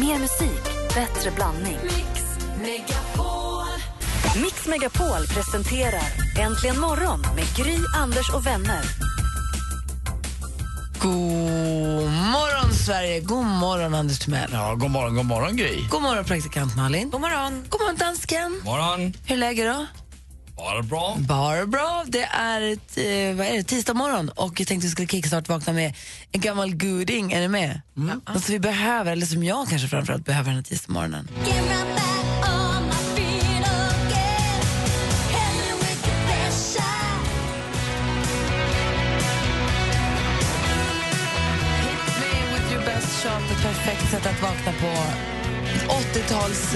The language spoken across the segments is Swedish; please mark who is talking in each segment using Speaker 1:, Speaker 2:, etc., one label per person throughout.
Speaker 1: Mer musik, bättre blandning.
Speaker 2: Mix Megapol.
Speaker 1: Mix Megapol presenterar Äntligen morgon med Gry, Anders och vänner.
Speaker 3: God morgon, Sverige! God morgon, Anders Timell.
Speaker 4: Ja, god morgon, god morgon Gry.
Speaker 3: God morgon, praktikant Malin. God morgon. God morgon, dansken.
Speaker 4: morgon.
Speaker 3: Hur är läget då?
Speaker 4: Var det bra?
Speaker 3: Bara bra. Det är, ett, eh, vad är det, tisdag morgon och jag tänkte vi skulle kickstart vakna med en gammal goding. Är ni med? Mm. Något som vi behöver, eller som jag kanske framförallt behöver den här tisdagsmorgonen. Play with your best shot, ett perfekt sätt att vakna på. Ett 80-tals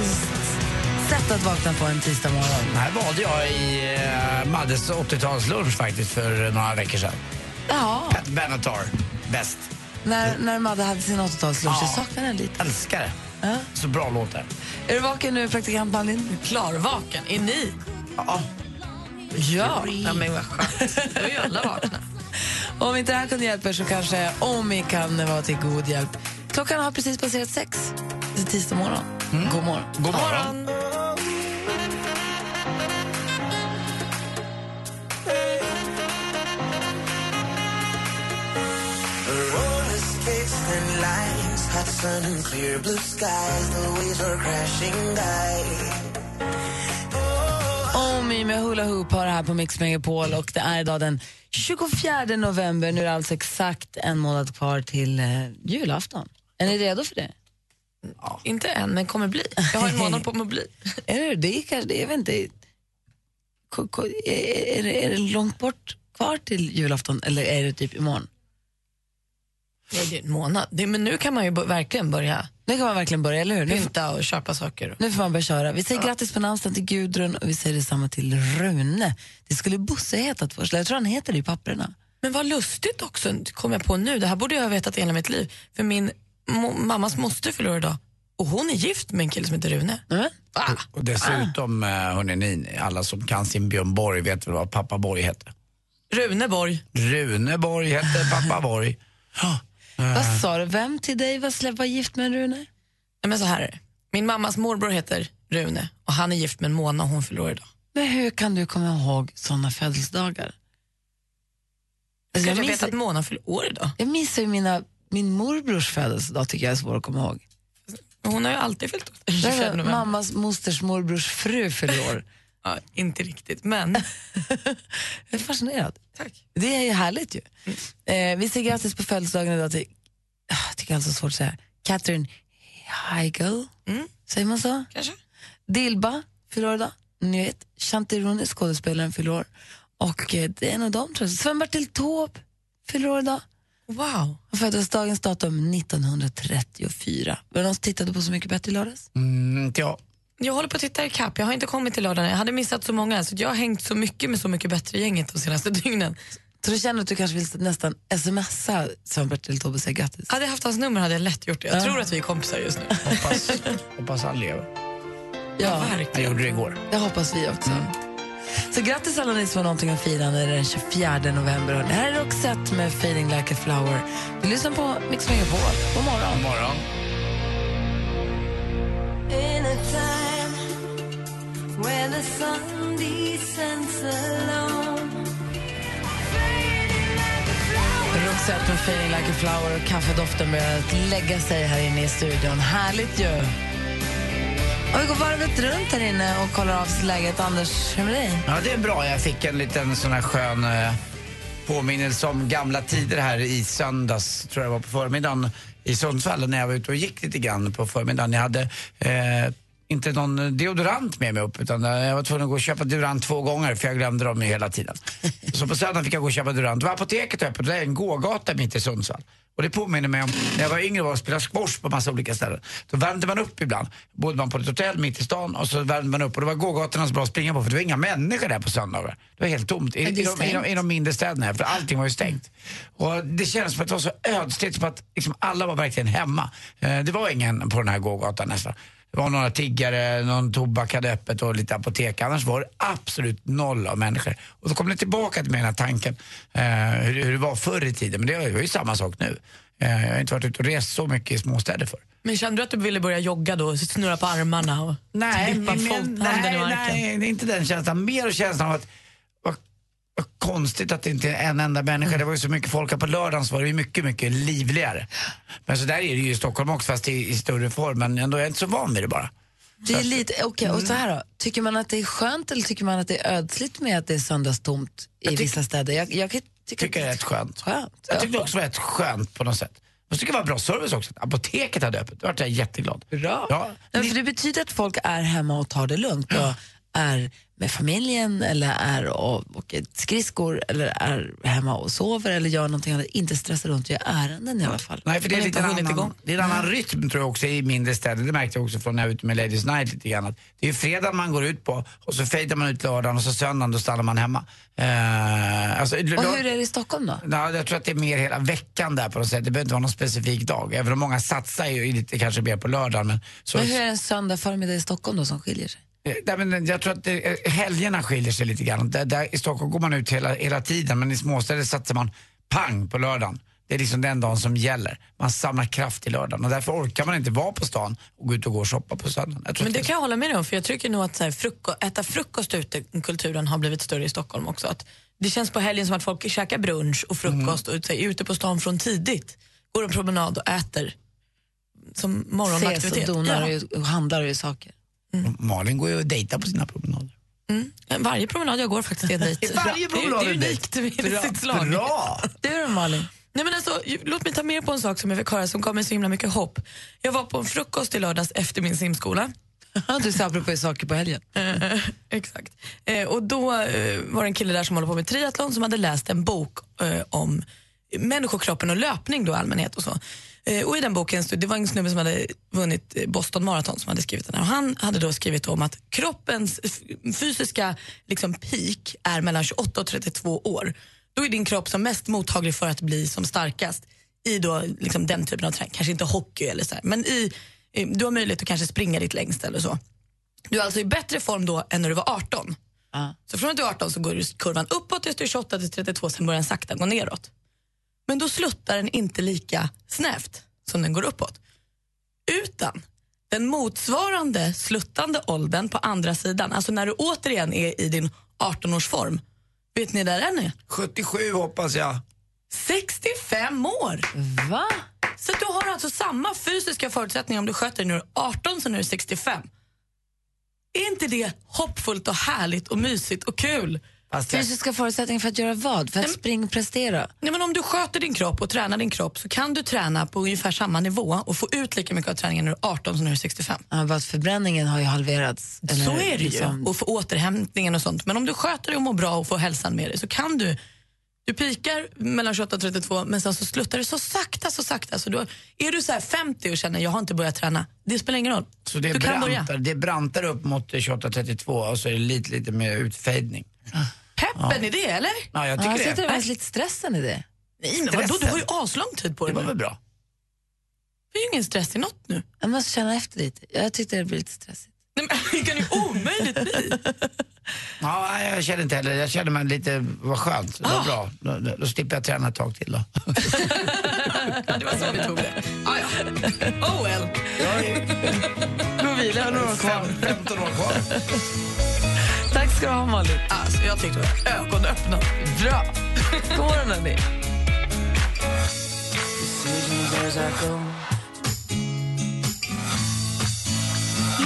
Speaker 3: sätt att vakna på en tisdag morgon.
Speaker 4: Här valde jag i eh, Maddes 80-talslunch faktiskt för några veckor sedan.
Speaker 3: Ja,
Speaker 4: Pat Benatar, bäst.
Speaker 3: när, när Madde hade sin 80-talslunch.
Speaker 4: Ja.
Speaker 3: Jag saknar den lite.
Speaker 4: Älskar det.
Speaker 3: Ja.
Speaker 4: Så bra låtar.
Speaker 3: Är du vaken nu, praktikant Malin?
Speaker 5: Klarvaken, är ni?
Speaker 4: Ja,
Speaker 3: Ja.
Speaker 5: Ja, men vad skönt. Då är ju alla vakna.
Speaker 3: Om inte det här kunde hjälpa er så kanske Omi kan vara till god hjälp. Klockan har precis passerat sex. Det är tisdag morgon.
Speaker 5: Mm.
Speaker 3: God morgon.
Speaker 4: god morgon.
Speaker 6: Roller skates and lines, hot sun and clear blue skies. The waves are crashing by.
Speaker 3: Omi med Hula Hoop har det här på Mix Megapol och det är idag den 24 november. Nu är det alltså exakt en månad kvar till eh, julafton. Är ni redo för det?
Speaker 5: Inte än, men kommer bli. Jag har en månad på mig att bli.
Speaker 3: Är det det? är kanske, det är väl inte... Ko- ko- Är, är, det- är det långt bort kvar till julafton eller är det typ imorgon?
Speaker 5: Nej, det är en månad. Det, men nu kan man ju bo- verkligen börja
Speaker 3: Nu kan man verkligen börja, eller hur? Nu
Speaker 5: pynta och köpa saker.
Speaker 3: Nu får man börja köra. Vi säger grattis på namnsdagen till Gudrun och vi säger detsamma till Rune. Det skulle Bosse hetat först, eller jag tror han heter det i papperna.
Speaker 5: Men vad lustigt också, kom jag på nu. Det här borde jag ha vetat hela mitt liv. För min mo- mammas moster förlorar idag och hon är gift med en kille som heter Rune.
Speaker 3: Mm.
Speaker 5: Ah,
Speaker 4: Och dessutom, eh, hörni, ni, alla som kan sin Björn Borg vet väl vad pappa Borg hette?
Speaker 5: Rune Borg.
Speaker 4: Rune Borg hette pappa Borg.
Speaker 3: Vad sa du? Vem till dig var, slä- var gift med Rune?
Speaker 5: Nej, men så här är det. Min mammas morbror heter Rune och han är gift med Mona och hon förlorar idag.
Speaker 3: Men hur kan du komma ihåg sådana födelsedagar? Alltså,
Speaker 5: Jag,
Speaker 3: jag,
Speaker 5: jag
Speaker 3: minns,
Speaker 5: vet att Mona fyller år idag.
Speaker 3: jag minns ju mina, min morbrors födelsedag, tycker jag är svår att komma ihåg.
Speaker 5: Hon har ju alltid fyllt år.
Speaker 3: Det
Speaker 5: 25
Speaker 3: var
Speaker 5: november.
Speaker 3: mammas mosters morbrors fru fyller år.
Speaker 5: Ja, inte riktigt, men...
Speaker 3: Jag är fascinerad.
Speaker 5: Tack. Mm.
Speaker 3: Det är ju härligt ju. Eh, vi säger grattis på födelsedagen idag till, ah, jag tycker alltså det är svårt att säga, Catherine Heigl.
Speaker 5: Mm.
Speaker 3: Säger man så?
Speaker 5: Kanske.
Speaker 3: Dilba fyller år idag, ni vet. Shanti Rooney, skådespelaren, fyller år. Och eh, det är en av dem tror jag. Sven-Bertil Taube fyller år idag.
Speaker 5: Wow.
Speaker 3: Han föddes dagens datum 1934. Var det någon som tittade på Så mycket bättre i lördags?
Speaker 4: Mm, ja.
Speaker 5: Jag håller på att titta ikapp. Jag har inte kommit till lördagen. Jag hade missat så många. Så jag har hängt så mycket med Så mycket bättre-gänget de senaste dygnen.
Speaker 3: Så du känner att du kanske vill nästan smsa Sven-Bertil Taube och säga grattis?
Speaker 5: Hade jag haft hans nummer hade jag lätt gjort det. Jag tror att vi är kompisar just nu.
Speaker 4: Hoppas, hoppas han lever.
Speaker 3: Ja.
Speaker 4: Jag
Speaker 5: Verkligen.
Speaker 4: gjorde det igår.
Speaker 3: Det hoppas vi också. Så grattis alla ni som har någonting att fira när det är den 24 november. Det här är Roxette med Fading Like a Flower. Vi lyssnar på Mix Megapol. God
Speaker 4: God
Speaker 3: morgon.
Speaker 4: morgon.
Speaker 3: Roxette med Fading Like a Flower och kaffedoften börjar att lägga sig här inne i studion. Härligt ju! Och vi går varvet runt här inne och kollar av sig läget. Anders, hur är det med dig?
Speaker 4: Ja, det är bra. Jag fick en liten sån här skön eh, påminnelse om gamla tider här i söndags, tror jag det var på förmiddagen i Sundsvall när jag var ute och gick lite grann på förmiddagen. Jag hade eh, inte någon deodorant med mig upp utan eh, jag var tvungen att gå och köpa deodorant två gånger för jag glömde dem ju hela tiden. Så på söndagen fick jag gå och köpa deodorant. Det var apoteket öppet och det är en gågata mitt i Sundsvall. Och det påminner mig om när jag var yngre var och spelade squash på massa olika ställen. Då värmde man upp ibland. Bodde man på ett hotell mitt i stan och så värmde man upp och det var gågatorna så bra att springa på för det var inga människor där på söndagar. Det var helt tomt i, i,
Speaker 3: det är
Speaker 4: de, i, de, i de mindre städerna här för allting var ju stängt. Och det kändes som att det var så ödsligt som att liksom alla var verkligen hemma. Eh, det var ingen på den här gågatan nästan. Det var några tiggare, någon tobak hade öppet och lite apotek. Annars var det absolut noll av människor. Och då kom det tillbaka till mig den här tanken eh, hur, hur det var förr i tiden. Men det var ju samma sak nu. Eh, jag har inte varit ute och rest så mycket i småstäder förr.
Speaker 5: Men kände du att du ville börja jogga då? Snurra på armarna och
Speaker 4: Nej,
Speaker 5: knippa
Speaker 4: men-
Speaker 5: folkhanden i
Speaker 4: nej,
Speaker 5: marken?
Speaker 4: nej, det är inte den känslan. Mer känslan av att vad, vad konstigt att det inte är en enda
Speaker 5: Mm.
Speaker 4: människa. Det var ju så mycket folk här på lördagen så var det ju mycket, mycket livligare. Men så där är det ju i Stockholm också fast i, i större form. Men ändå är jag inte så van vid det bara.
Speaker 3: Det är lite, okay, och så här då. Tycker man att det är skönt eller tycker man att det är ödsligt med att det är söndagstomt i vissa städer? Jag, jag kan tycka
Speaker 4: Tycker det är rätt skönt.
Speaker 3: skönt.
Speaker 4: Jag tyckte också det var rätt skönt på något sätt. Jag tycker det var bra service också. Apoteket hade öppet. Då vart jag jätteglad.
Speaker 3: Bra.
Speaker 4: Ja.
Speaker 3: Nej, för det betyder att folk är hemma och tar det lugnt och är med familjen eller är och åker skridskor eller är hemma och sover eller gör någonting annat. Inte stressar runt och gör ärenden i alla fall.
Speaker 4: Nej, för det är,
Speaker 3: Man
Speaker 4: lite
Speaker 3: inte
Speaker 4: en
Speaker 3: hunnit
Speaker 4: annan, det är en
Speaker 3: Mm.
Speaker 4: annan rytm tror jag också i mindre städer. Det märkte jag också från när jag var ute med Ladies Night lite grann. att Det är ju fredag man går ut på och så fejdar man ut lördagen och så söndagen då stannar man hemma. Eh, alltså,
Speaker 3: Och hur är det i Stockholm då?
Speaker 4: Ja, jag tror att det är mer hela veckan där på något sätt. Det behöver inte vara någon specifik dag. Även om många satsar ju lite kanske mer på lördagen. Men så,
Speaker 3: Men hur är det en söndag förmiddag i Stockholm då som skiljer sig?
Speaker 4: Eh, Nej, men jag tror att det, eh, helgerna skiljer sig lite grann. Där, där, I Stockholm går man ut hela, hela tiden men i småstäder satsar man pang på lördagen. Det är liksom den dagen som gäller. Man samlar kraft i lördagen och därför orkar man inte vara på stan och gå ut och gå och shoppa på söndagen. Jag tror
Speaker 5: Men
Speaker 4: att
Speaker 5: det kan jag hålla med dig om, för jag tycker nog att så här, fruko- äta frukost ute-kulturen har blivit större i Stockholm också. Att det känns på helgen som att folk käkar brunch och frukost
Speaker 4: Mm.
Speaker 5: och så här, är ute på stan från tidigt. Går en promenad och äter som
Speaker 3: Ses och
Speaker 5: morgonaktivitet.
Speaker 3: donar och
Speaker 5: Ja.
Speaker 3: ju- och handlar och gör saker.
Speaker 4: Malin går ju och dejtar på sina promenader.
Speaker 5: Varje promenad jag går faktiskt är en dejt.
Speaker 4: Varje
Speaker 5: Det är-
Speaker 4: promenad
Speaker 5: Det
Speaker 4: är
Speaker 5: är
Speaker 4: en
Speaker 5: unikt
Speaker 4: Bra!
Speaker 5: med sitt slag.
Speaker 4: Bra!
Speaker 3: Du då Malin?
Speaker 5: Nej, men alltså, ju- låt mig ta med på en sak som jag fick höra som gav mig så himla mycket hopp. Jag var på en frukost i lördags efter min simskola.
Speaker 3: du sa apropå saker på helgen.
Speaker 5: Exakt. Eh, och då eh, var det en kille där som håller på med triathlon som hade läst en bok eh, om människokroppen och löpning då i allmänhet och så. Eh, och i den boken, stod- det var en snubbe som hade vunnit eh, Boston Marathon som hade skrivit den här och han hade då skrivit om att kroppens f- fysiska liksom, peak är mellan 28 och 32 år. Då är din kropp som mest mottaglig för att bli som starkast i då, liksom, den typen av träning, kanske inte hockey eller så här, men i, eh, du har möjlighet att kanske springa ditt längsta eller så. Du är alltså i bättre form då än när du var 18.
Speaker 3: Ja.
Speaker 5: Så från att du är 18 så går ju kurvan uppåt tills du är 28 till 32, sen börjar den sakta gå neråt. Men då sluttar den inte lika snävt som den går uppåt. Utan den motsvarande sluttande åldern på andra sidan, alltså när du återigen är i din 18-årsform, vet ni där den är?
Speaker 4: 77 hoppas jag.
Speaker 5: 65 år!
Speaker 3: Va?
Speaker 5: Så att du har alltså samma fysiska förutsättningar om du sköter dig när du är 18 som när du är 65. Är inte det hoppfullt och härligt och mysigt och kul?
Speaker 4: Fast jag,
Speaker 3: Fysiska förutsättningar för att göra vad? För att springprestera?
Speaker 5: Nej, men om du sköter din kropp och tränar din kropp så kan du träna på ungefär samma nivå och få ut lika mycket av träningen när du är 18 som när du är 65.
Speaker 3: Ja, bara att förbränningen har ju halverats.
Speaker 5: så
Speaker 3: Eller
Speaker 5: är det
Speaker 3: liksom-
Speaker 5: ju. Och för återhämtningen och sånt. Men om du sköter dig och mår bra och får hälsan med dig så kan du du pikar mellan 28 och 32 men sen så sluttar det så sakta, så sakta. Så då är du så här 50 och känner jag har inte börjat träna, det spelar ingen roll.
Speaker 4: så det är,
Speaker 5: du kan börja.
Speaker 4: brantar, det är brantar upp mot 28-32 och så är det lite, lite mer utfejdning.
Speaker 5: Peppen i det eller?
Speaker 4: Ja, jag
Speaker 3: Ja,
Speaker 4: tycker
Speaker 3: jag tyckte
Speaker 4: det.
Speaker 3: det var lite stressen i det.
Speaker 5: Nej, men vadå, du har ju
Speaker 4: Stressen.
Speaker 5: aslång tid på
Speaker 4: Det
Speaker 5: dig
Speaker 4: var
Speaker 5: nu.
Speaker 4: väl bra.
Speaker 5: Det är ju ingen stress i något nu.
Speaker 3: Jag måste känna efter lite. Jag tyckte det blev lite stressigt.
Speaker 5: Nej, men det kan ju omöjligt bli.
Speaker 4: Ja, jag känner inte heller. Jag känner mig lite, vad skönt. Det
Speaker 5: Ah.
Speaker 4: var bra. Då, då, då slipper jag träna ett tag till då.
Speaker 5: Ja, det var så vi tog det. Ah, ja. Oh well.
Speaker 3: Gå och vila, har några kvar.
Speaker 4: 15 år kvar.
Speaker 3: Tack ska du ha Malin.
Speaker 5: Alltså, jag tyckte det var ögonöppnande.
Speaker 3: Bra. God morgon hörni.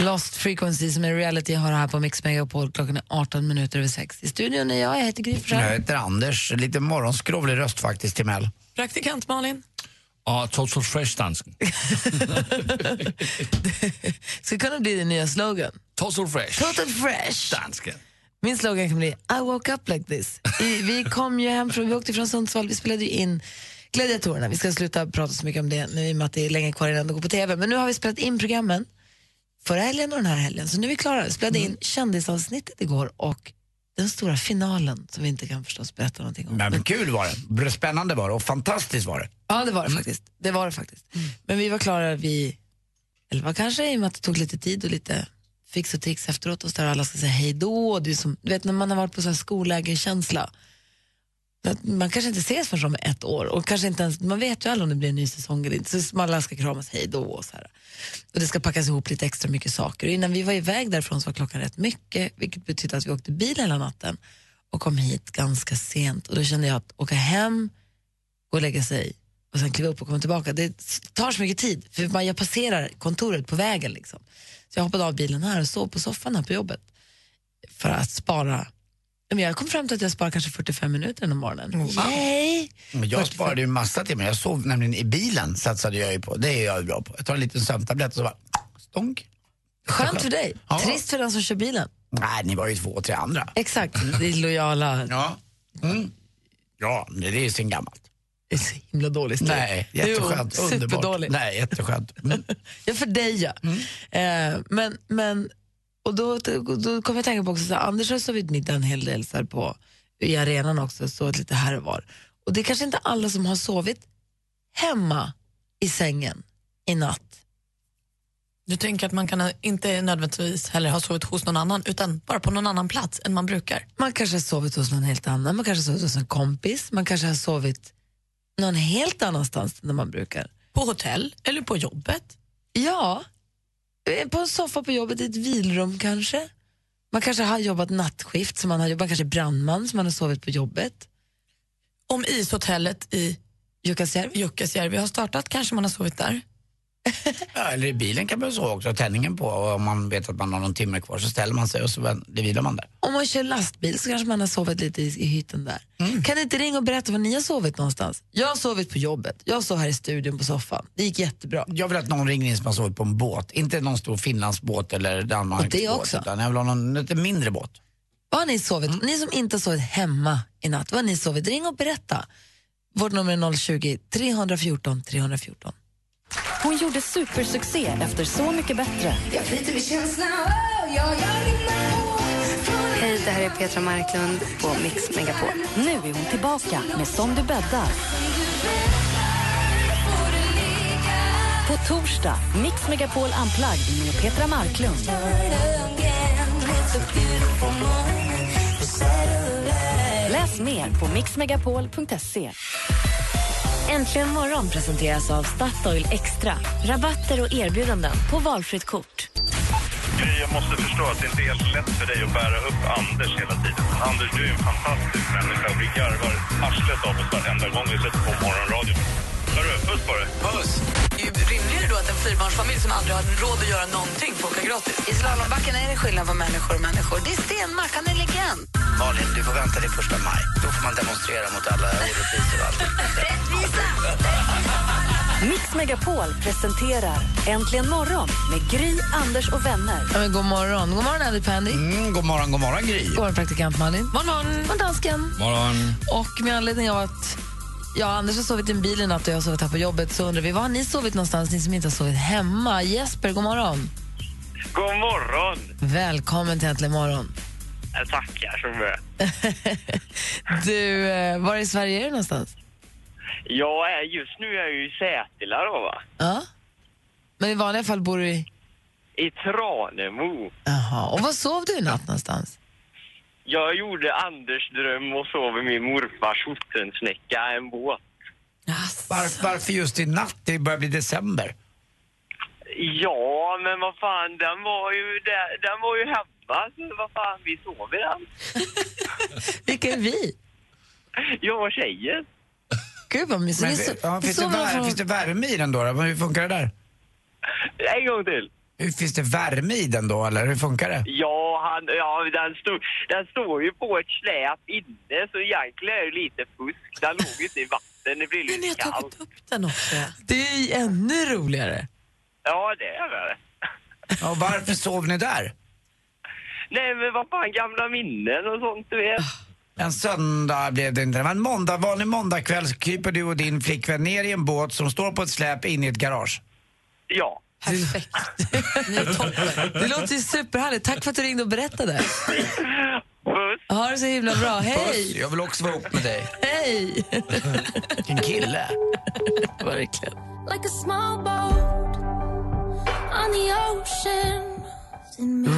Speaker 3: Lost Frequency som är reality har här på Mix Megapol. Klockan är 18 minuter över 6. I studion är jag, jag heter Gry
Speaker 4: Jag
Speaker 3: Forssell.
Speaker 4: heter Anders. Lite morgonskrovlig röst faktiskt till Mel.
Speaker 5: Praktikant Malin.
Speaker 7: Og Total Fresh-dansken.
Speaker 3: Ska kunna bli din nya slogan.
Speaker 7: Total Fresh.
Speaker 3: Total fresh.
Speaker 7: Dansken.
Speaker 3: Min slogan kan bli I woke up like this. I, vi kom ju hem från, vi åkte från Sundsvall, vi spelade ju in Gladiatorerna. Vi ska sluta prata så mycket om det nu i och med att det är länge kvar innan det går på TV. Men nu har vi spelat in programmen förra helgen och den här helgen. Så nu är vi klara. Vi spelade in kändisavsnittet igår och den stora finalen som vi inte kan förstås berätta någonting om.
Speaker 4: Men kul var det. Br- Spännande var det och fantastiskt var det.
Speaker 3: Ja, det var det
Speaker 4: Mm.
Speaker 3: faktiskt. Det var det faktiskt. Men vi var klara vid elva kanske, i och med att det tog lite tid och lite fix och trix efteråt och så där alla ska säga hej då. Och det är som, du vet när man har varit på så här skollägerkänsla att man kanske inte ses förrän om ett år och kanske inte ens, man vet ju aldrig om det blir en ny säsong eller inte. Så alla ska kramas hej då och så här. Och det ska packas ihop lite extra mycket saker. Och innan vi var iväg därifrån så var klockan rätt mycket vilket betyder att vi åkte bil hela natten och kom hit ganska sent. Och då kände jag att åka hem, gå och lägga sig och sen kliva upp och komma tillbaka. Det tar så mycket tid, för man, jag passerar kontoret på vägen. Liksom. Så jag hoppade av bilen här och sov på soffan här på jobbet för att spara. Men jag kom fram till att jag sparar kanske 45 minuter den här morgonen. Yay!
Speaker 4: Men jag sparade ju massa timmar. Jag sov nämligen i bilen satsade jag ju på. Det är jag ju bra på. Jag tar en liten sömntablett och så bara stonk.
Speaker 3: Skönt för dig,
Speaker 4: Ja.
Speaker 3: trist för den som kör bilen.
Speaker 4: Nej, ni var ju två, tre andra.
Speaker 3: Exakt, det är lojala.
Speaker 4: Ja. Mm. Ja, men det är ju sen gammalt.
Speaker 3: Det är så himla dålig stil.
Speaker 4: Nej, jätteskönt.
Speaker 3: Jo,
Speaker 4: Underbart.
Speaker 3: superdålig.
Speaker 4: Nej, jätteskönt. Mm.
Speaker 3: Ja, för dig ja.
Speaker 5: Mm.
Speaker 3: Eh, men, men, och då, då kom jag att tänka på också, så här, Anders har sovit middag en hel del så här, på, i arenan också, sovit lite här och var. Och det är kanske inte alla som har sovit hemma i sängen i natt.
Speaker 5: Du tänker att man kan ha- inte nödvändigtvis heller ha sovit hos någon annan utan bara på någon annan plats än man brukar.
Speaker 3: Man kanske har sovit hos någon helt annan, man kanske har sovit hos en kompis, man kanske har sovit någon helt annanstans än där man brukar.
Speaker 5: På hotell eller på jobbet.
Speaker 3: Ja, eh, på en soffa på jobbet, i ett vilrum kanske. Man kanske har jobbat nattskift, så man, har jobbat, man kanske är brandman som man har sovit på jobbet.
Speaker 5: Om ishotellet i
Speaker 3: Jukkasjärvi.
Speaker 5: Jukkasjärvi har startat kanske man har sovit där.
Speaker 4: Ja, eller i bilen kan man ju sova också. Ha Tändningen på och om man vet att man har någon timme kvar så ställer man sig och så vän- det vilar man där.
Speaker 3: Om man kör lastbil så kanske man har sovit lite i, i hytten där.
Speaker 5: Mm.
Speaker 3: Kan ni inte ringa och berätta var ni har sovit någonstans? Jag har sovit på jobbet, jag sov här i studion på soffan. Det gick jättebra.
Speaker 4: Jag vill att någon ringer in som har sovit på en båt. Inte någon stor Finlandsbåt eller Danmarksbåt.
Speaker 3: Och det också.
Speaker 4: Utan jag vill ha någon lite mindre båt.
Speaker 3: Vad har ni sovit? Ni som inte har sovit hemma i natt, vad har ni sovit? Ring och berätta. Vårt nummer är 020 314 314.
Speaker 1: Hon gjorde supersuccé efter Så mycket bättre.
Speaker 8: Hej, det här är Petra Marklund på Mix Megapol.
Speaker 1: Nu är hon tillbaka med Som du bäddar. På torsdag, Mix Megapol Unplugged med Petra Marklund. Läs mer på mixmegapol.se. Äntligen morgon presenteras av Statoil Extra. Rabatter och erbjudanden på valfritt kort.
Speaker 9: Gry, jag måste förstå att det inte är så lätt för dig att bära upp Anders hela tiden. Anders, du är en fantastisk människa och vi garvar arslet av oss varenda gång vi sätter på morgonradion. Hörru, puss på dig! Puss!
Speaker 5: Rimligare då att en fyrbarnsfamilj som aldrig har råd att göra någonting får åka gratis.
Speaker 3: I slalombacken är det skillnad på människor och människor. Det är Stenmark, han är legend.
Speaker 4: Malin, du får vänta till första maj. Då får man demonstrera mot alla orättvisor och allt.
Speaker 1: Mix Megapol presenterar Äntligen morgon med Gry, Anders och vänner.
Speaker 3: Ja, men god morgon. God morgon, Andy Pandy.
Speaker 4: Mm, god morgon, god morgon Gry.
Speaker 3: God morgon, praktikant Malin. God morgon. God morgon, dansken.
Speaker 7: Morgon.
Speaker 3: Och med anledning av att ja, Anders har sovit i en bil i natt och jag har sovit här på jobbet så undrar vi, var har ni sovit någonstans, ni som inte har sovit hemma? Jesper, god morgon.
Speaker 9: God morgon!
Speaker 3: Välkommen till Äntligen morgon.
Speaker 9: Eh, Tackar så mycket.
Speaker 3: Du, eh, var i Sverige är du någonstans?
Speaker 9: Jag är, just nu är jag ju i Sätila då va?
Speaker 3: Ja. Men i vanliga fall bor du i...
Speaker 9: I Tranemo.
Speaker 3: Jaha. Och var sov du i natt någonstans?
Speaker 9: Jag gjorde Anders dröm och sov i min morfars hostensnäcka, en båt.
Speaker 4: Var, varför just i natt? Det börjar bli december.
Speaker 9: Ja, men vad fan, den var ju, där, den var ju hemma. Så vad fan, vi sov i den.
Speaker 3: Vilka är vi?
Speaker 9: Jag och tjejen.
Speaker 3: Gud vad mysigt.
Speaker 4: Men,
Speaker 3: Ni so-
Speaker 4: ja,
Speaker 3: ni
Speaker 4: finns, det
Speaker 3: sover
Speaker 4: vär,
Speaker 3: från-
Speaker 4: finns det värme i den då? då? Men Hur funkar det där?
Speaker 9: En gång till.
Speaker 4: Hur- Finns det värme i den då, eller hur funkar det?
Speaker 9: Ja, han, ja den, stod, den står ju på ett släp inne, så egentligen är det lite fusk. Den låg ju inte i vatten, det blir
Speaker 5: Men ni har
Speaker 9: lite kallt.
Speaker 5: tagit upp den också.
Speaker 3: Det är ju ännu roligare.
Speaker 9: Ja, det är det.
Speaker 4: Ja, Och varför sov ni där?
Speaker 9: Nej, men vad fan, gamla minnen och sånt, du vet.
Speaker 5: Ah.
Speaker 4: En söndag blev det inte. Det var en måndag, vanlig måndagkväll så kryper du och din flickvän ner i en båt som står på ett släp in i ett garage.
Speaker 9: Ja.
Speaker 5: Perfekt. Ni är toppen.
Speaker 3: Det låter ju superhärligt. Tack för att du ringde och berättade.
Speaker 9: Puss!
Speaker 3: Ha det så himla bra. Hej!
Speaker 4: Jag vill också vara ihop med dig.
Speaker 3: Hej!
Speaker 4: En kille.
Speaker 3: Verkligen.
Speaker 2: Like a small boat on the ocean.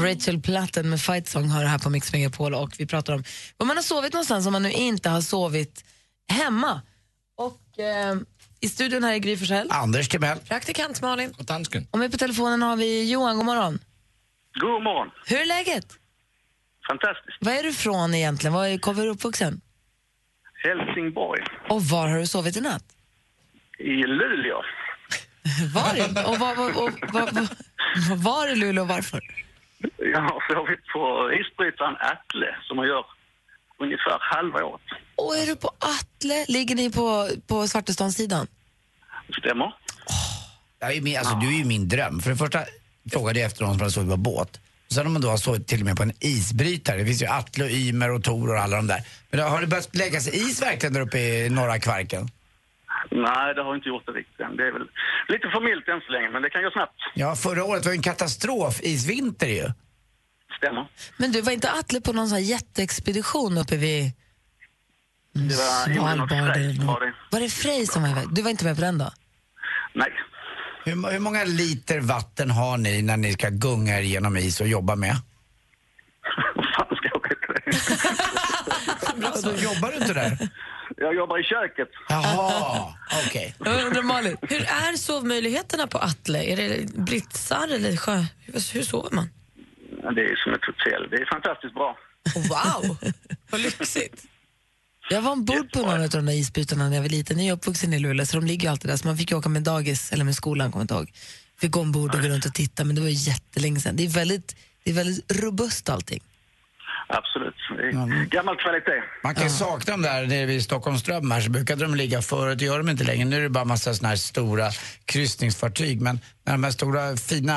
Speaker 3: Rachel Platten med Fight Song har det här på Mix Megapol och vi pratar om var man har sovit någonstans om man nu inte har sovit hemma. Och eh, i studion här är Gry Forssell.
Speaker 4: Anders Timell.
Speaker 3: Praktikant Malin.
Speaker 7: Och dansken.
Speaker 3: Och med på telefonen har vi Johan, god morgon.
Speaker 9: God morgon.
Speaker 3: Hur är läget?
Speaker 9: Fantastiskt.
Speaker 3: Var är du från egentligen? Var är, var är du uppvuxen?
Speaker 9: Helsingborg.
Speaker 3: Och var har du sovit i natt?
Speaker 9: I Luleå.
Speaker 3: Var? i- Och var, var, och var, var, var i Luleå och varför?
Speaker 9: Jag har sovit på isbrytaren Atle som man gör ungefär halva året.
Speaker 3: Och är du på Atle? Ligger ni på, på Svartestånssidan?
Speaker 9: Stämmer?
Speaker 4: Jag är min, alltså, Du är ju min dröm. För det första frågade jag efter någon som hade sovit på båt. Och sen om man då har sovit till och med på en isbrytare. Det finns ju Atle och Ymer och Tor och alla de där. Men då, har det börjat lägga sig is verkligen där uppe i norra Kvarken?
Speaker 9: Nej, det har jag inte gjort det riktigt än. Det är väl lite för milt än så länge, men det kan gå snabbt.
Speaker 4: Ja, förra året var ju en katastrof. Isvinter ju.
Speaker 9: Stämmer.
Speaker 3: Men du, var inte Atle på någon sån här jätteexpedition uppe vid
Speaker 9: Det var Johan och
Speaker 3: Svalbard?
Speaker 9: Frej
Speaker 3: eller
Speaker 9: som
Speaker 3: något?
Speaker 9: var det.
Speaker 3: Var det Frej som var iväg? Du var inte med på den då?
Speaker 9: Nej.
Speaker 4: Hur, må- hur många liter vatten har ni när ni ska gunga er genom is och jobba med?
Speaker 9: Vad fan ska jag åka till det?
Speaker 4: Alltså, jobbar du inte där?
Speaker 9: Jag jobbar i köket.
Speaker 4: Jaha, okej.
Speaker 5: Jag undrar Malin, hur är sovmöjligheterna på Atle? Är det britsar eller sjö? Hur, hur sover man?
Speaker 9: Det är som ett hotell. Det är fantastiskt bra.
Speaker 5: Wow, vad lyxigt.
Speaker 3: Jag var ombord på någon av de där isbrytarna när jag var liten. Jag är uppvuxen i Luleå så de ligger ju alltid där. Så man fick ju åka med dagis, eller med skolan kommer jag inte ihåg. Fick gå ombord och gå runt och titta men det var ju jättelänge sedan. Det är väldigt, det är väldigt robust allting.
Speaker 9: Absolut. Det är gammal kvalitet.
Speaker 4: Man kan ju sakna dem där nere vid Stockholmström här så brukade de ligga förut, det gör de inte längre. Nu är det bara massa såna här stora kryssningsfartyg. Men när de här stora fina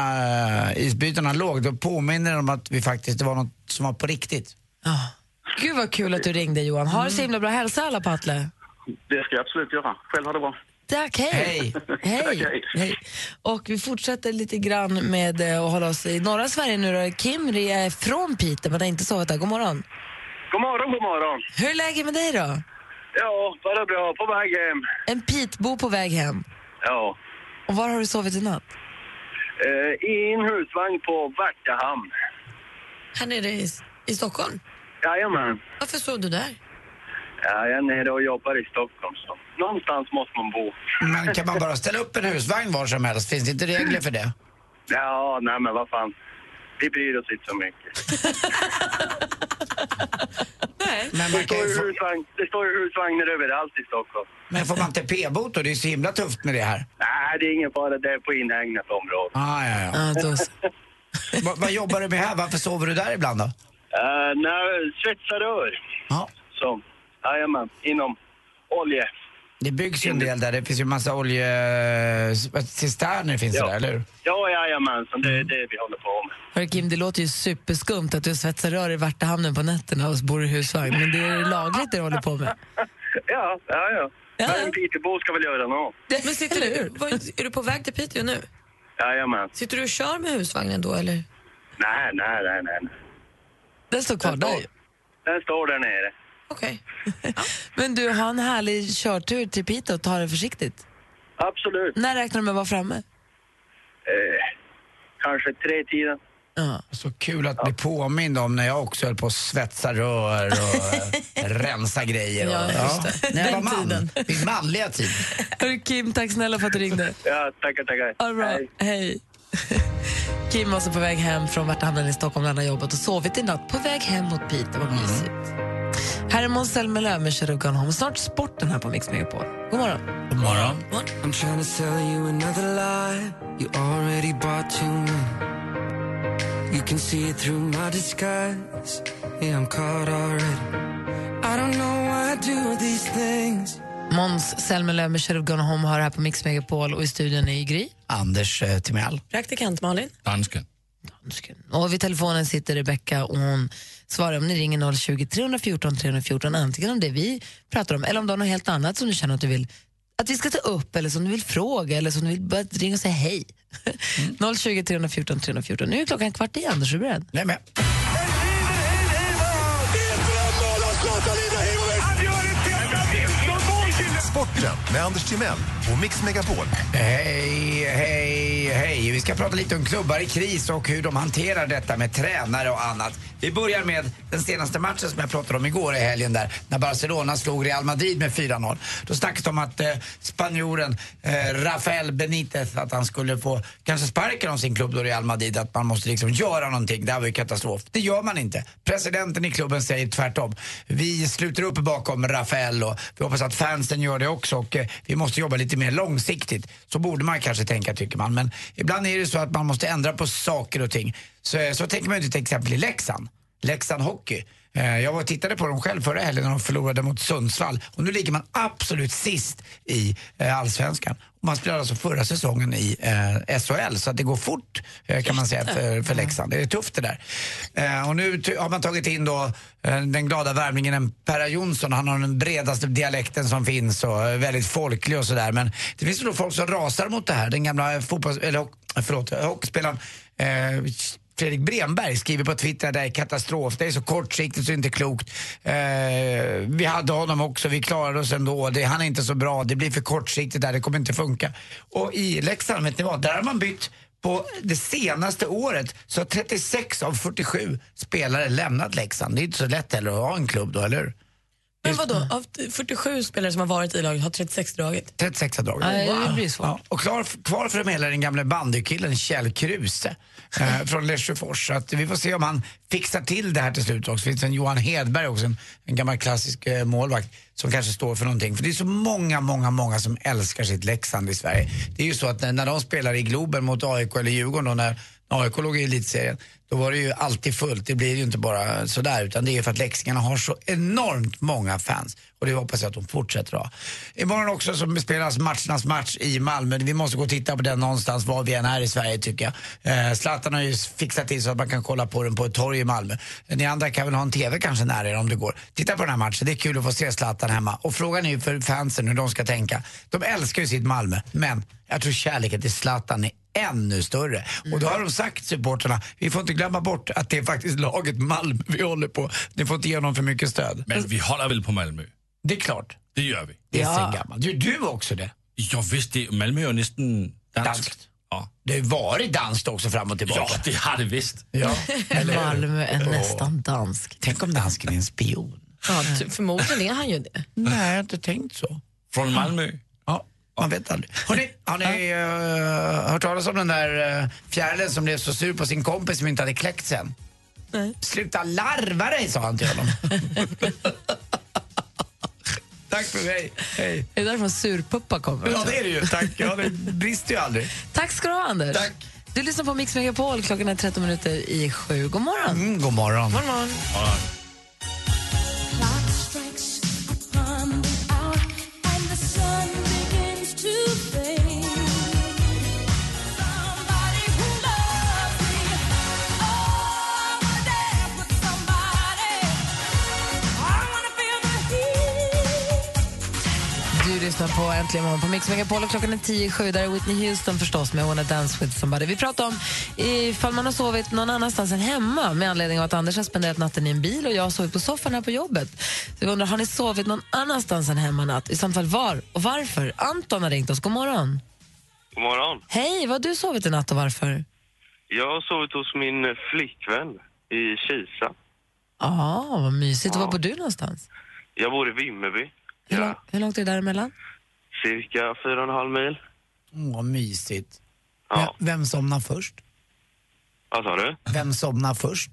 Speaker 4: eh, isbrytarna låg, då påminner de om att vi faktiskt, det var något som var på riktigt.
Speaker 3: Ja. Gud vad kul att du ringde Johan. Ha det så himla bra. Hälsa alla på Atle.
Speaker 9: Det ska jag absolut göra. Själv har det bra.
Speaker 3: Tack, hej.
Speaker 4: Hej.
Speaker 9: Tack,
Speaker 3: hej.
Speaker 9: hej.
Speaker 3: Hej. Och vi fortsätter lite grann med eh, att hålla oss i norra Sverige nu då. Kim Ri är från Piteå men har inte sovit där. God morgon.
Speaker 9: God morgon, god morgon.
Speaker 3: Hur är läget med dig då?
Speaker 9: Ja, bara bra. På väg hem.
Speaker 3: En pitbo på väg hem.
Speaker 9: Ja.
Speaker 3: Och var har du sovit i natt?
Speaker 9: I en Eh, husvagn på Värtahamn.
Speaker 5: Här nere i, i Stockholm?
Speaker 9: Jajamän.
Speaker 5: Varför sov du där?
Speaker 9: Ja, jag är nere och jobbar i Stockholm. Så. Någonstans måste man bo.
Speaker 4: Men kan man bara ställa upp en husvagn var som helst? Finns det inte regler för det?
Speaker 9: Ja, nej men vad fan. Vi bryr oss inte så mycket.
Speaker 4: Men, man
Speaker 9: Det
Speaker 4: kan
Speaker 9: står
Speaker 4: ju
Speaker 9: ju
Speaker 4: få,
Speaker 9: husvagn, det står ju husvagnar överallt i Stockholm.
Speaker 4: men får man inte p-bot då? Det är ju så himla tufft med det här.
Speaker 9: Nej, det är ingen fara. Det är på inhägnat område.
Speaker 4: Ah, ja, ja.
Speaker 3: Ja, då, så.
Speaker 4: Va, vad jobbar du med här? Varför sover du där ibland då?
Speaker 9: Uh, nej, svetsarör.
Speaker 4: Ja.
Speaker 9: Så, jajamän. Inom olje.
Speaker 4: Det byggs ju en del där. Det finns ju en massa oljecisterner finns det
Speaker 9: Ja.
Speaker 4: där, eller hur?
Speaker 9: Ja, jajamensan. Det är det vi håller på med.
Speaker 3: Hörru Kim, det låter ju superskumt att du svetsar rör i Värtahamnen på nätterna och bor i husvagn. Men det är lagligt det du håller på med.
Speaker 9: Ja, ja, ja. Men en Piteåbo ska väl göra något.
Speaker 5: Men sitter du, var, är du på väg till Piteå nu?
Speaker 9: Jajamän.
Speaker 5: Sitter du och kör med husvagnen då eller?
Speaker 9: Nej, nej, nej, nej.
Speaker 3: Den står kvar där ju.
Speaker 9: Den står där nere.
Speaker 5: Okej.
Speaker 3: Men du, ha en härlig körtur till Piteå och ta det försiktigt.
Speaker 9: Absolut.
Speaker 3: När räknar du med att vara framme?
Speaker 9: Eh, kanske tre tiden.
Speaker 3: Ja.
Speaker 4: Så kul att bli påmind om när jag också höll på att svetsa rör och eh, rensa grejer. Och,
Speaker 5: Ja, just
Speaker 4: När jag var
Speaker 3: Den
Speaker 4: man.
Speaker 3: tiden.
Speaker 4: Min manliga tid.
Speaker 3: Hörru Kim, tack snälla för att du ringde.
Speaker 9: Ja, tackar, tackar.
Speaker 3: Ha det bra.
Speaker 9: Hej.
Speaker 3: Hej. Kim var alltså på väg hem från Värtahamnen i Stockholm där han har jobbat och sovit i natt på väg hem mot Piteå. Vad mysigt. Här är Måns Zelmerlöw med Shut Up Gone Home. Snart sporten här på Mix Megapol. God morgon.
Speaker 7: God morgon.
Speaker 6: I'm trying to sell you another lie. You already bought too many. You can see it through my disguise. Yeah, I'm caught already. I don't know why I do these things.
Speaker 3: Måns Zelmerlöw med Shut Up Gone Home har det här på Mix Megapol och i studion är Gry.
Speaker 4: Anders eh, Timell.
Speaker 5: Praktikant Malin?
Speaker 7: Dansken.
Speaker 3: Och vid telefonen sitter Rebecka och hon svarar om ni ringer 020 314 314 antingen om det vi pratar om eller om det är något helt annat som du känner att du vill att vi ska ta upp eller som du vill fråga eller som du vill bara ringa och säga hej.
Speaker 5: Mm.
Speaker 3: 020 314 314. Nu är klockan kvart i, Anders, är du beredd?
Speaker 4: Nej, men.
Speaker 10: Sport Sporten med Anders Timell och Mix Megapol.
Speaker 4: Hej, hej, hej. Vi ska prata lite om klubbar i kris och hur de hanterar detta med tränare och annat. Vi börjar med den senaste matchen som jag pratade om igår i helgen där, när Barcelona slog Real Madrid med 4-0. Då snackades det om att eh, spanjoren eh, Rafael Benitez, att han skulle få kanske sparken av sin klubb då Real Madrid, att man måste liksom göra någonting. Det här var ju katastrof. Det gör man inte. Presidenten i klubben säger tvärtom. Vi sluter upp bakom Rafael och vi hoppas att fansen gör det också och eh, vi måste jobba lite mer långsiktigt. Så borde man kanske tänka tycker man. Men ibland är det så att man måste ändra på saker och ting. Så, eh, så tänker man ju inte till exempel i Leksand. Leksand Hockey. Eh, Jag var och tittade på dem själv förra helgen när de förlorade mot Sundsvall och nu ligger man absolut sist i eh, allsvenskan. Och Man spelade alltså förra säsongen i eh, SHL så att det går fort eh, kan man säga för, för Leksand. Det är tufft det där. Eh, och nu ty- har man tagit in då eh, den glada värmlingen Perra Jonsson. Han har den bredaste dialekten som finns och är väldigt folklig och sådär. Men det finns ju då folk som rasar mot det här. Den gamla fotbolls... Eller, hock- förlåt, hockeyspelaren eh, Fredrik Bremberg skriver på Twitter att det här är katastrof, det är så kortsiktigt så det är inte klokt. Eh, vi hade honom också, vi klarade oss ändå, det, han är inte så bra, det blir för kortsiktigt där, det kommer inte funka. Och i Leksand, vet ni vad, där har man bytt på det senaste året så har 36 av 47 spelare lämnat Leksand. Det är inte så lätt heller att ha en klubb då, eller hur?
Speaker 5: Men vadå, av 47 spelare som har varit i laget har 36 dragit?
Speaker 4: 36 har dragit.
Speaker 5: Nej, det blir svårt.
Speaker 4: Ja, och klar, kvar för dem hela är den gamle bandykillen Kjell Kruse eh, från Lesjöfors. Så att vi får se om han fixar till det här till slut också. Det finns en Johan Hedberg också, en, en gammal klassisk eh, målvakt som kanske står för någonting. För det är så många, många, många som älskar sitt Leksand i Sverige. Det är ju så att eh, när, när de spelar i Globen mot AIK eller Djurgården då, när AIK låg i elitserien, då var det ju alltid fullt. Det blir ju inte bara sådär, utan det är för att leksingarna har så enormt många fans. Och det hoppas jag att de fortsätter ha. Imorgon också så spelas matchernas match i Malmö. Vi måste gå och titta på den någonstans, var vi än är i Sverige tycker jag. Eh, Zlatan har ju fixat till så att man kan kolla på den på ett torg i Malmö. Ni andra kan väl ha en TV kanske nära er om det går. Titta på den här matchen, det är kul att få se Zlatan hemma. Och frågan är ju för fansen hur de ska tänka. De älskar ju sitt Malmö, men jag tror kärleken till Zlatan är ännu större. Och då har de sagt supporterna, vi får inte glömma bort att det är faktiskt laget Malmö vi håller på. Ni får inte ge dem för mycket stöd.
Speaker 7: Men vi håller väl på Malmö?
Speaker 4: Det är klart,
Speaker 7: Det gör vi.
Speaker 4: det är sen gammalt. Du, du också det.
Speaker 7: Ja, visst, det, Malmö är ju nästan danskt.
Speaker 4: Danskt.
Speaker 7: Ja.
Speaker 4: Det har ju varit danskt också fram och tillbaka.
Speaker 7: ja, det har det visst.
Speaker 4: Ja, eller hur?
Speaker 3: Malmö är
Speaker 4: Åh.
Speaker 3: nästan dansk.
Speaker 4: Tänk om dansken är en spion?
Speaker 5: Ja, t- förmodligen är han ju det.
Speaker 4: Nej, jag har inte tänkt så.
Speaker 7: Från Malmö.
Speaker 4: Ja, man vet aldrig. Hörrni, har ni eh, hört talas om den där uh, fjärilen som blev så sur på sin kompis som inte hade kläckt sen?
Speaker 5: Nej.
Speaker 4: Sluta larva dig, sa han till honom. Tack för mig. Hej.
Speaker 3: Är det därifrån surpuppa kommer?
Speaker 4: Ja, det är det ju. Tack. Ja, det brister ju aldrig.
Speaker 3: Tack ska du ha, Anders.
Speaker 4: Tack.
Speaker 3: Du lyssnar på Mix Megapol. Klockan är 13 minuter i sju. God morgon.
Speaker 4: Mm, god morgon.
Speaker 3: Du lyssnar på Äntligen morgon på Mix Megapol och klockan är tio i sju. Där är Whitney Houston förstås med Wanna Dance with somebody. Vi pratar om ifall man har sovit någon annanstans än hemma med anledning av att Anders har spenderat natten i en bil och jag har sovit på soffan här på jobbet. Så vi undrar, har ni sovit någon annanstans än hemma natt? I så fall var och varför? Anton har ringt oss. God morgon.
Speaker 9: God morgon.
Speaker 3: Hej, vad har du sovit i natt och varför?
Speaker 9: Jag har sovit hos min flickvän i Kisa.
Speaker 3: Ja, vad mysigt. Var bor du någonstans?
Speaker 9: Jag bor i Vimmerby.
Speaker 3: Hur, lång,
Speaker 9: Ja,
Speaker 3: hur långt är det däremellan?
Speaker 9: cirka fyra och en halv mil.
Speaker 4: Åh, Mm, vad mysigt.
Speaker 9: Ja.
Speaker 4: Vem, vem somnar först?
Speaker 9: Vad sa du?
Speaker 4: Vem somnar först?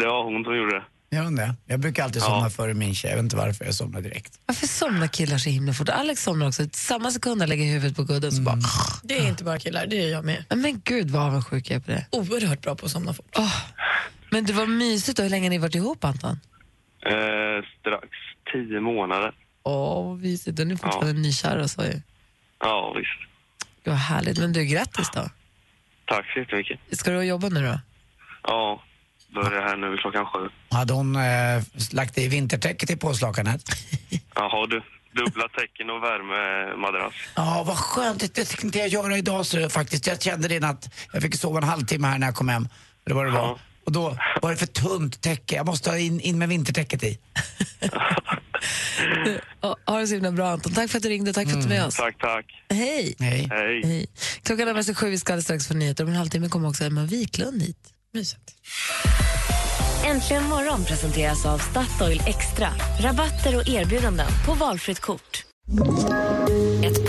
Speaker 9: Det var hon som gjorde det.
Speaker 4: Gör hon det? Jag brukar alltid somna före min tjej. Jag vet inte varför jag somnar direkt.
Speaker 3: Varför somnar killar så himla fort? Alex somnar också. Samma sekund han lägger huvudet på kudden så bara...
Speaker 5: Det är inte bara killar, det är jag med.
Speaker 3: Men gud vad avundsjuk jag är på det.
Speaker 5: Oerhört bra på att somna fort.
Speaker 3: Men det var mysigt då. Hur länge har ni varit ihop Anton?
Speaker 9: Eh, strax tio månader.
Speaker 3: Åh, vad mysigt. Och ni är fortfarande nykära och så ju.
Speaker 9: Ja, visst.
Speaker 3: Gud vad härligt. Men du, grattis då.
Speaker 9: Tack så jättemycket.
Speaker 3: Ska du och jobba nu då?
Speaker 9: Ja, börjar här nu klockan sju.
Speaker 4: Hade hon eh, lagt i vintertäcket i påslakanet?
Speaker 9: Jaha du, dubbla tecken och värmemadrass.
Speaker 4: Ja, vad skönt. Det tänkte jag göra idag så jag faktiskt. Jag kände redan att jag fick sova en halvtimme här när jag kom hem. Eller vad det var.
Speaker 9: Ja.
Speaker 4: Och då var det för tunt täcke. Jag måste ha in, in med vintertäcket i.
Speaker 3: Ja, Ha det så himla bra, Anton. Tack för att du ringde. Mm, Tack för att du är med oss.
Speaker 9: Tack, tack.
Speaker 3: Hej.
Speaker 4: Hej.
Speaker 3: Hej. Klockan är nästan sju, vi ska alldeles strax få nyheter. Om en halvtimme kommer också Emma Wiklund hit. Mysigt.
Speaker 1: Äntligen morgon presenteras av Statoil Extra. Rabatter och erbjudanden på valfritt kort. Ett